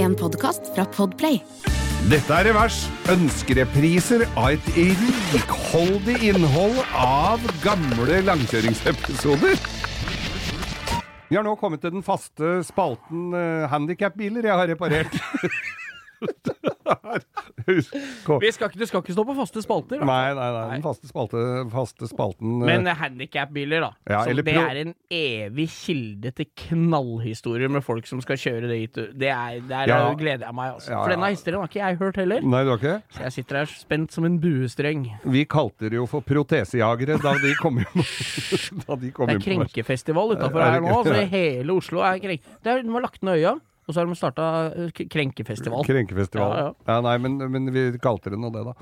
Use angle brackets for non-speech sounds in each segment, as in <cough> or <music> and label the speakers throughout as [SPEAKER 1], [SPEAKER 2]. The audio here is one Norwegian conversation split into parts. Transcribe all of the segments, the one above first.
[SPEAKER 1] en podkast fra Podplay.
[SPEAKER 2] Dette er Revers. Ønskerepriser av et rikholdig innhold av gamle langkjøringsepisoder. Vi har nå kommet til den faste spalten uh, handikapbiler jeg har reparert. <laughs> Husk, kom.
[SPEAKER 3] Vi skal ikke, du skal ikke stå på faste spalter. Da.
[SPEAKER 2] Nei, nei, nei. Den faste, spalte, faste spalten eh,
[SPEAKER 3] Men handikapbiler, da.
[SPEAKER 2] Ja,
[SPEAKER 3] så
[SPEAKER 2] eller
[SPEAKER 3] det
[SPEAKER 2] pro-
[SPEAKER 3] er en evig kilde til knallhistorier med folk som skal kjøre dit. Det er, der
[SPEAKER 2] Ja.
[SPEAKER 3] er- gleder jeg meg, altså.
[SPEAKER 2] Ja,
[SPEAKER 3] For
[SPEAKER 2] ja.
[SPEAKER 3] denne historien har ikke jeg hørt heller.
[SPEAKER 2] Nei, du har ikke det?
[SPEAKER 3] Så jeg sitter her spent som en buestreng.
[SPEAKER 2] Vi kalte det jo for protesejagere da de kom inn. <laughs> da de kom
[SPEAKER 3] Det er
[SPEAKER 2] inn på oss.
[SPEAKER 3] krenkefestival utafor
[SPEAKER 2] Er- er
[SPEAKER 3] her
[SPEAKER 2] det-
[SPEAKER 3] nå. Så hele Oslo er krenk... Det er, de har lagt ned øya, og så har de starta krenkefestival.
[SPEAKER 2] Krenkefestival. Ja,
[SPEAKER 3] Ja, ja.
[SPEAKER 2] nei, men, men vi kalte det nå det, da.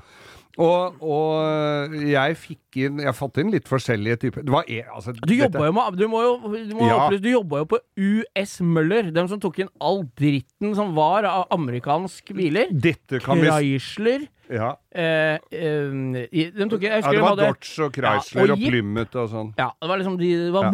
[SPEAKER 2] Og, og jeg fikk inn Jeg fant inn litt forskjellige typer. Det var e, altså,
[SPEAKER 3] Du jobba jo med Du må jo, du må
[SPEAKER 2] Ja.
[SPEAKER 3] opplyse, du jobba jo på US Møller. Dem som tok inn all dritten som var av amerikanske biler.
[SPEAKER 2] Dette kan vi s-
[SPEAKER 3] Chrysler
[SPEAKER 2] ja.
[SPEAKER 3] eh, eh, i- De tok jeg
[SPEAKER 2] ja,
[SPEAKER 3] husker
[SPEAKER 2] det
[SPEAKER 3] de
[SPEAKER 2] var
[SPEAKER 3] hadde
[SPEAKER 2] Dodge og Chrysler
[SPEAKER 3] Ja, og
[SPEAKER 2] og
[SPEAKER 3] Jeep.
[SPEAKER 2] Plymouth og sånn.
[SPEAKER 3] Ja, det var liksom de, det
[SPEAKER 2] Ja.
[SPEAKER 3] var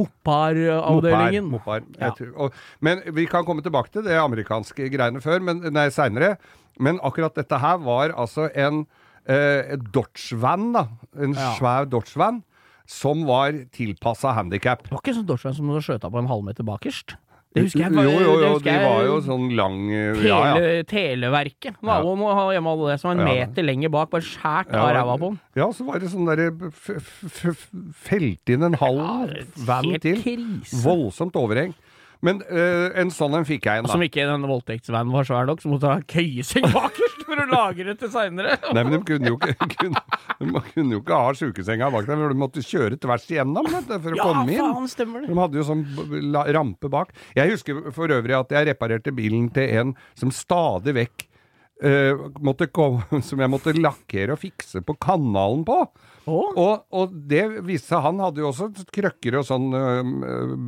[SPEAKER 3] Mopar-avdelingen.
[SPEAKER 2] Mopar. mopar.
[SPEAKER 3] Ja.
[SPEAKER 2] Jeg tror- Og, men vi kan komme tilbake til det amerikanske greiene før, men, nei, seinere. Men akkurat dette her var altså en eh, Dodge-van, da. En
[SPEAKER 3] Ja.
[SPEAKER 2] svær Dodge-van. Som var tilpassa handikap.
[SPEAKER 3] Det var ikke sånn Dodge som du skjøta på en halvmeter bakerst. Det husker jeg.
[SPEAKER 2] Jo, jo, jo,
[SPEAKER 3] det husker
[SPEAKER 2] de
[SPEAKER 3] jeg-
[SPEAKER 2] var jo sånn lang eh,
[SPEAKER 3] Tele,
[SPEAKER 2] ja, ja.
[SPEAKER 3] Televerket. Naboen må ha hjemme alle det som var en
[SPEAKER 2] Ja, da.
[SPEAKER 3] meter lenger bak, bare skjært
[SPEAKER 2] Ja,
[SPEAKER 3] av ræva på den.
[SPEAKER 2] Ja, så var det sånn derre f- f- f- Felt inn en halv van
[SPEAKER 3] Helt
[SPEAKER 2] til.
[SPEAKER 3] krise.
[SPEAKER 2] Voldsomt overheng. Men øh, en sånn en fikk jeg en,
[SPEAKER 3] Som
[SPEAKER 2] da.
[SPEAKER 3] ikke den voldtektsvanen var svær nok, så måtte du ha køyeseng bakerst for å lagre til seinere.
[SPEAKER 2] Nei, men de kunne jo ikke, <laughs> kunne, de kunne jo ikke ha sjukesenga bak dem, for de måtte kjøre tvers igjennom vet du, for å
[SPEAKER 3] Ja,
[SPEAKER 2] komme inn.
[SPEAKER 3] faen, stemmer det.
[SPEAKER 2] De hadde jo sånn b- la- rampe bak. Jeg husker for øvrig at jeg reparerte bilen til en som stadig vekk eh, måtte komme, <laughs> som jeg måtte lakkere og fikse på kanalen på.
[SPEAKER 3] Å?
[SPEAKER 2] Og, og det viste seg Han hadde jo også krøkker og sånn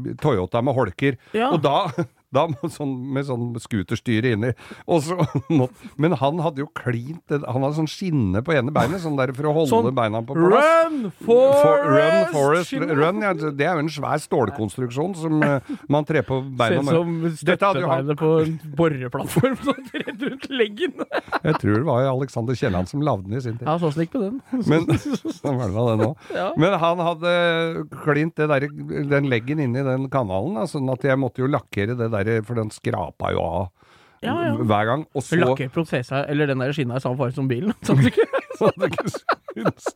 [SPEAKER 2] eh, Toyota med holker.
[SPEAKER 3] Ja.
[SPEAKER 2] Og da, <laughs> da må sånn, med sånn scooterstyre inni. Og så, <laughs> må- men han hadde jo klint det- Han hadde sånn skinne på ene beinet, sånn der for å holde
[SPEAKER 3] Sånn
[SPEAKER 2] beina på plass.
[SPEAKER 3] Run,
[SPEAKER 2] For, run,
[SPEAKER 3] Forest!
[SPEAKER 2] forest, run, ja, det er jo en svær stålkonstruksjon som eh, man trer
[SPEAKER 3] <laughs>
[SPEAKER 2] på
[SPEAKER 3] Ser
[SPEAKER 2] beina
[SPEAKER 3] ut
[SPEAKER 2] med.
[SPEAKER 3] som
[SPEAKER 2] Dette hadde jo han-
[SPEAKER 3] støttebeinet på en boreplattform <laughs> som rett rundt leggen.
[SPEAKER 2] Jeg tror det var Alexander Kielland som lagde den i sin tid.
[SPEAKER 3] Ja, så slik på den.
[SPEAKER 2] Men, <laughs> Sånn var det vel det nå.
[SPEAKER 3] Ja.
[SPEAKER 2] Men han hadde klint det der, den leggen inni den kanalen, da, sånn at jeg måtte jo lakkere det der, for den skrapa jo av
[SPEAKER 3] Ja, ja.
[SPEAKER 2] hver gang. Og så
[SPEAKER 3] Lakker prosessa, eller den der skinna i samme farge som bilen. <laughs> Sånn at du ikke
[SPEAKER 2] <laughs> så det ikke syns.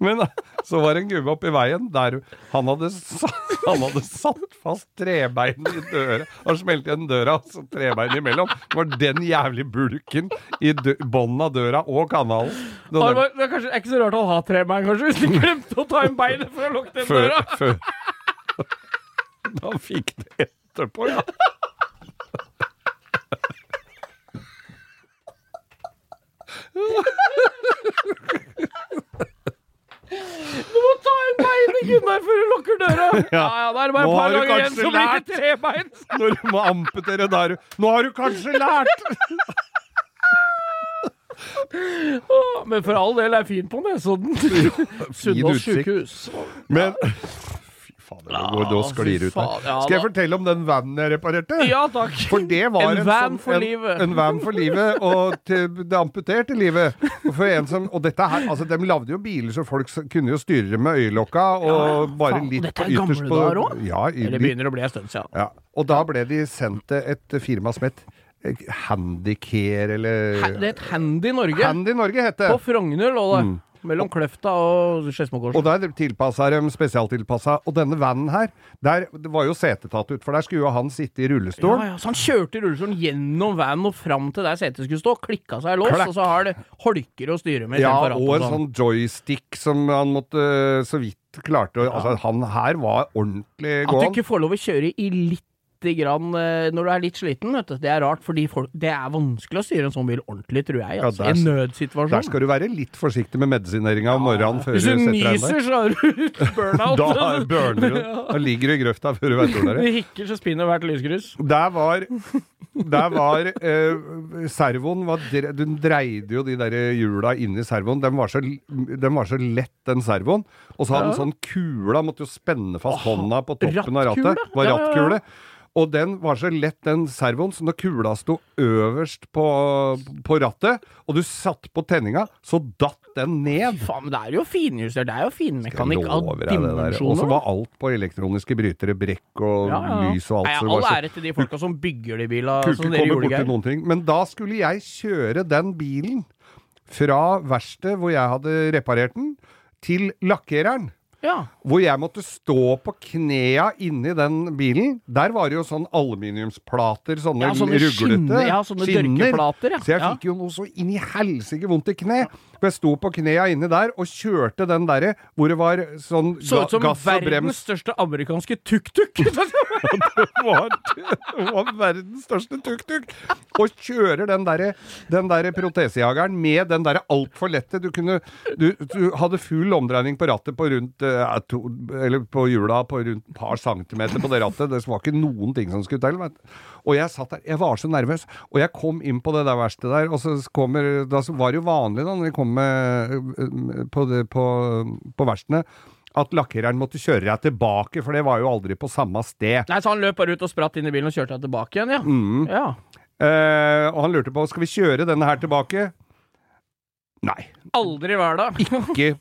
[SPEAKER 2] Men eh, så var det en gubbe oppi veien der han hadde, sa- han hadde satt fast trebein i døra. Han smelte igjen døra, og så trebein imellom. Det var den jævlig bulken i dø- bånden av døra og kanalen. Den
[SPEAKER 3] Han
[SPEAKER 2] der-
[SPEAKER 3] var, det er kanskje det er ikke så rart han har trebein, kanskje, hvis de glemte å ta inn beinet for å lukke den
[SPEAKER 2] før,
[SPEAKER 3] døra.
[SPEAKER 2] før. Da fikk det etterpå, ja.
[SPEAKER 3] Du må ta inn beinet, Gunnar, før du lukker
[SPEAKER 2] <laughs>
[SPEAKER 3] døra! Ja, ja, da er det bare
[SPEAKER 2] Nå
[SPEAKER 3] et
[SPEAKER 2] har
[SPEAKER 3] par
[SPEAKER 2] du
[SPEAKER 3] ganger igjen,
[SPEAKER 2] kanskje
[SPEAKER 3] så blir
[SPEAKER 2] lært.
[SPEAKER 3] det trebein.
[SPEAKER 2] Når du må amputere der Nå har du kanskje lært!
[SPEAKER 3] Åh, Men for all del er fin på
[SPEAKER 2] <laughs>
[SPEAKER 3] Nesodden. Sunnaas
[SPEAKER 2] utsikt.
[SPEAKER 3] sjukehus.
[SPEAKER 2] Men Fy fader, det går- nå sklir det ut
[SPEAKER 3] faen,
[SPEAKER 2] her.
[SPEAKER 3] ja
[SPEAKER 2] Skal jeg
[SPEAKER 3] da.
[SPEAKER 2] fortelle om den vanen jeg reparerte?
[SPEAKER 3] Ja takk.
[SPEAKER 2] For det var
[SPEAKER 3] En van
[SPEAKER 2] sånn-
[SPEAKER 3] for livet.
[SPEAKER 2] En van for livet, og til det amputerte livet. Og, for en som, og dette her, altså De lagde jo biler så folk s- kunne jo styre dem med øyelokka, og bare
[SPEAKER 3] faen,
[SPEAKER 2] litt
[SPEAKER 3] dette er
[SPEAKER 2] på ytterst
[SPEAKER 3] gamle
[SPEAKER 2] på
[SPEAKER 3] dager også?
[SPEAKER 2] Ja, i,
[SPEAKER 3] Det begynner å bli en stund siden.
[SPEAKER 2] Ja. Og da ble de sendt til et firma som het eh, Handicare,
[SPEAKER 3] He-
[SPEAKER 2] eller
[SPEAKER 3] Det het Handy Norge.
[SPEAKER 2] Handy Norge het det.
[SPEAKER 3] På Frogner lå det. Mellom Kløfta og
[SPEAKER 2] Mm. Og
[SPEAKER 3] Skedsmokorset.
[SPEAKER 2] der tilpassa de spesialtilpassa. Og denne vanen her, der det var jo setet tatt ut, for der skulle jo han sitte i
[SPEAKER 3] Ja,
[SPEAKER 2] rullestol.
[SPEAKER 3] ja, så han kjørte rullestolen gjennom vanen og fram til der setet skulle stå, klikka seg i lås,
[SPEAKER 2] Klakk.
[SPEAKER 3] og så har det holker å styre med.
[SPEAKER 2] Ja,
[SPEAKER 3] istedenfor ratt
[SPEAKER 2] og en sånn
[SPEAKER 3] sånn.
[SPEAKER 2] joystick som han måtte eh, så vidt klarte å Altså, han her var ordentlig
[SPEAKER 3] At du
[SPEAKER 2] gåen.
[SPEAKER 3] ikke får lov å kjøre i lite grann eh, når du er litt sliten, vet du. Det er rart, fordi folk, det er vanskelig å styre en sånn bil ordentlig, tror jeg. Altså.
[SPEAKER 2] der-
[SPEAKER 3] I en
[SPEAKER 2] Der
[SPEAKER 3] nødsituasjon.
[SPEAKER 2] skal du være litt forsiktig med medisineringa om morgenen før du
[SPEAKER 3] Hvis du
[SPEAKER 2] setter deg
[SPEAKER 3] nyser,
[SPEAKER 2] ned.
[SPEAKER 3] så har du
[SPEAKER 2] <laughs>
[SPEAKER 3] burnout.
[SPEAKER 2] Da burner du. Da ligger du i grøfta før du veit ordet.
[SPEAKER 3] Du hikker, så spinner hvert lysgrus.
[SPEAKER 2] Der var, der var eh, servoen var, dre- Du dreide jo de der hjula inni servoen. Den var, så, l- den var så lett, den servoen. Og så hadde den sånn kula, måtte jo spenne fast hånda på toppen av rattet.
[SPEAKER 3] rattkule?
[SPEAKER 2] Var
[SPEAKER 3] Ja, ja, ja.
[SPEAKER 2] rattkule. Og den var så lett, den servoen, så når kula sto øverst på, på rattet, og du satt på tenninga, så datt den ned.
[SPEAKER 3] Faen, men det er jo finjustert. Det er jo finmekanikk av
[SPEAKER 2] Lover jeg det der. Og så
[SPEAKER 3] dimensjoner.
[SPEAKER 2] var alt på elektroniske brytere, brekk og
[SPEAKER 3] Ja, ja, ja.
[SPEAKER 2] sånn lys og alt.
[SPEAKER 3] Nei,
[SPEAKER 2] så det
[SPEAKER 3] All
[SPEAKER 2] var så-
[SPEAKER 3] ære til de folka som bygger de bila.
[SPEAKER 2] kunne
[SPEAKER 3] Som
[SPEAKER 2] ikke
[SPEAKER 3] Altså, dere
[SPEAKER 2] komme
[SPEAKER 3] gjorde,
[SPEAKER 2] borti
[SPEAKER 3] Geir.
[SPEAKER 2] noen ting. Men da skulle jeg kjøre den bilen fra verkstedet hvor jeg hadde reparert den, til lakkereren.
[SPEAKER 3] Ja.
[SPEAKER 2] Hvor jeg måtte stå på knea inni den bilen. Der var det jo sånn aluminiumsplater, sånne,
[SPEAKER 3] Ja, sånne
[SPEAKER 2] ruglete
[SPEAKER 3] skinner, ja, sånne dørkeplater, ja.
[SPEAKER 2] Så jeg
[SPEAKER 3] Ja.
[SPEAKER 2] fikk jo noe så inn i helsike vondt i kne. For jeg sto på knea inni der og kjørte den derre hvor det var sånn
[SPEAKER 3] Så
[SPEAKER 2] ga
[SPEAKER 3] ut som
[SPEAKER 2] gass og brems
[SPEAKER 3] verdens største amerikanske
[SPEAKER 2] <laughs>
[SPEAKER 3] tuk-tuk!
[SPEAKER 2] var, var verdens største tuk-tuk. Og kjører den derre den derre protesejageren med den derre altfor lette Du kunne du, du hadde full omdreining på rattet på rundt eh, to, Eller på hjula på rundt et par centimeter på det rattet. Det var ikke noen ting som skulle til. Vet. du. Og jeg satt der. Jeg var så nervøs. Og jeg kom inn på det der verkstedet der, og så kommer Da så var det jo vanlig, da, når vi kom med, på, det, på, på verkstedene at lakkereren måtte kjøre deg tilbake, for det var jo aldri på samme sted.
[SPEAKER 3] Nei, så han løp bare ut og spratt inn i bilen og kjørte deg tilbake igjen, ja.
[SPEAKER 2] Mm.
[SPEAKER 3] ja.
[SPEAKER 2] Eh, og han lurte på skal vi kjøre denne her tilbake. Nei.
[SPEAKER 3] Aldri hver dag.
[SPEAKER 2] <laughs> Ikke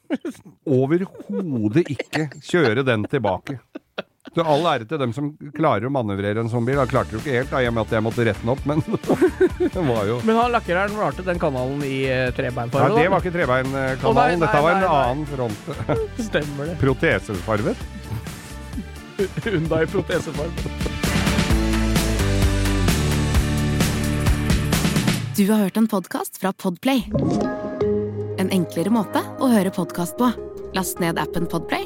[SPEAKER 2] overhodet ikke kjøre den tilbake. Så all ære til dem som klarer å manøvrere en sånn bil. Jeg klarte jo ikke helt, da, i og med at jeg måtte rette den opp, men <laughs> det var jo
[SPEAKER 3] Men han lakkereren valgte den kanalen i eh,
[SPEAKER 2] Nei,
[SPEAKER 3] trebeinfarge.
[SPEAKER 2] det
[SPEAKER 3] da.
[SPEAKER 2] var ikke
[SPEAKER 3] Å, nei,
[SPEAKER 2] Trebeinkanalen.
[SPEAKER 3] nei,
[SPEAKER 2] Dette var en
[SPEAKER 3] nei, nei.
[SPEAKER 2] annen front.
[SPEAKER 3] Stemmer det.
[SPEAKER 2] Protesefarvet.
[SPEAKER 3] Hyundai protesefarge.
[SPEAKER 1] Du har hørt en podcast fra Podplay En enklere måte å høre podcast på Last ned appen Podplay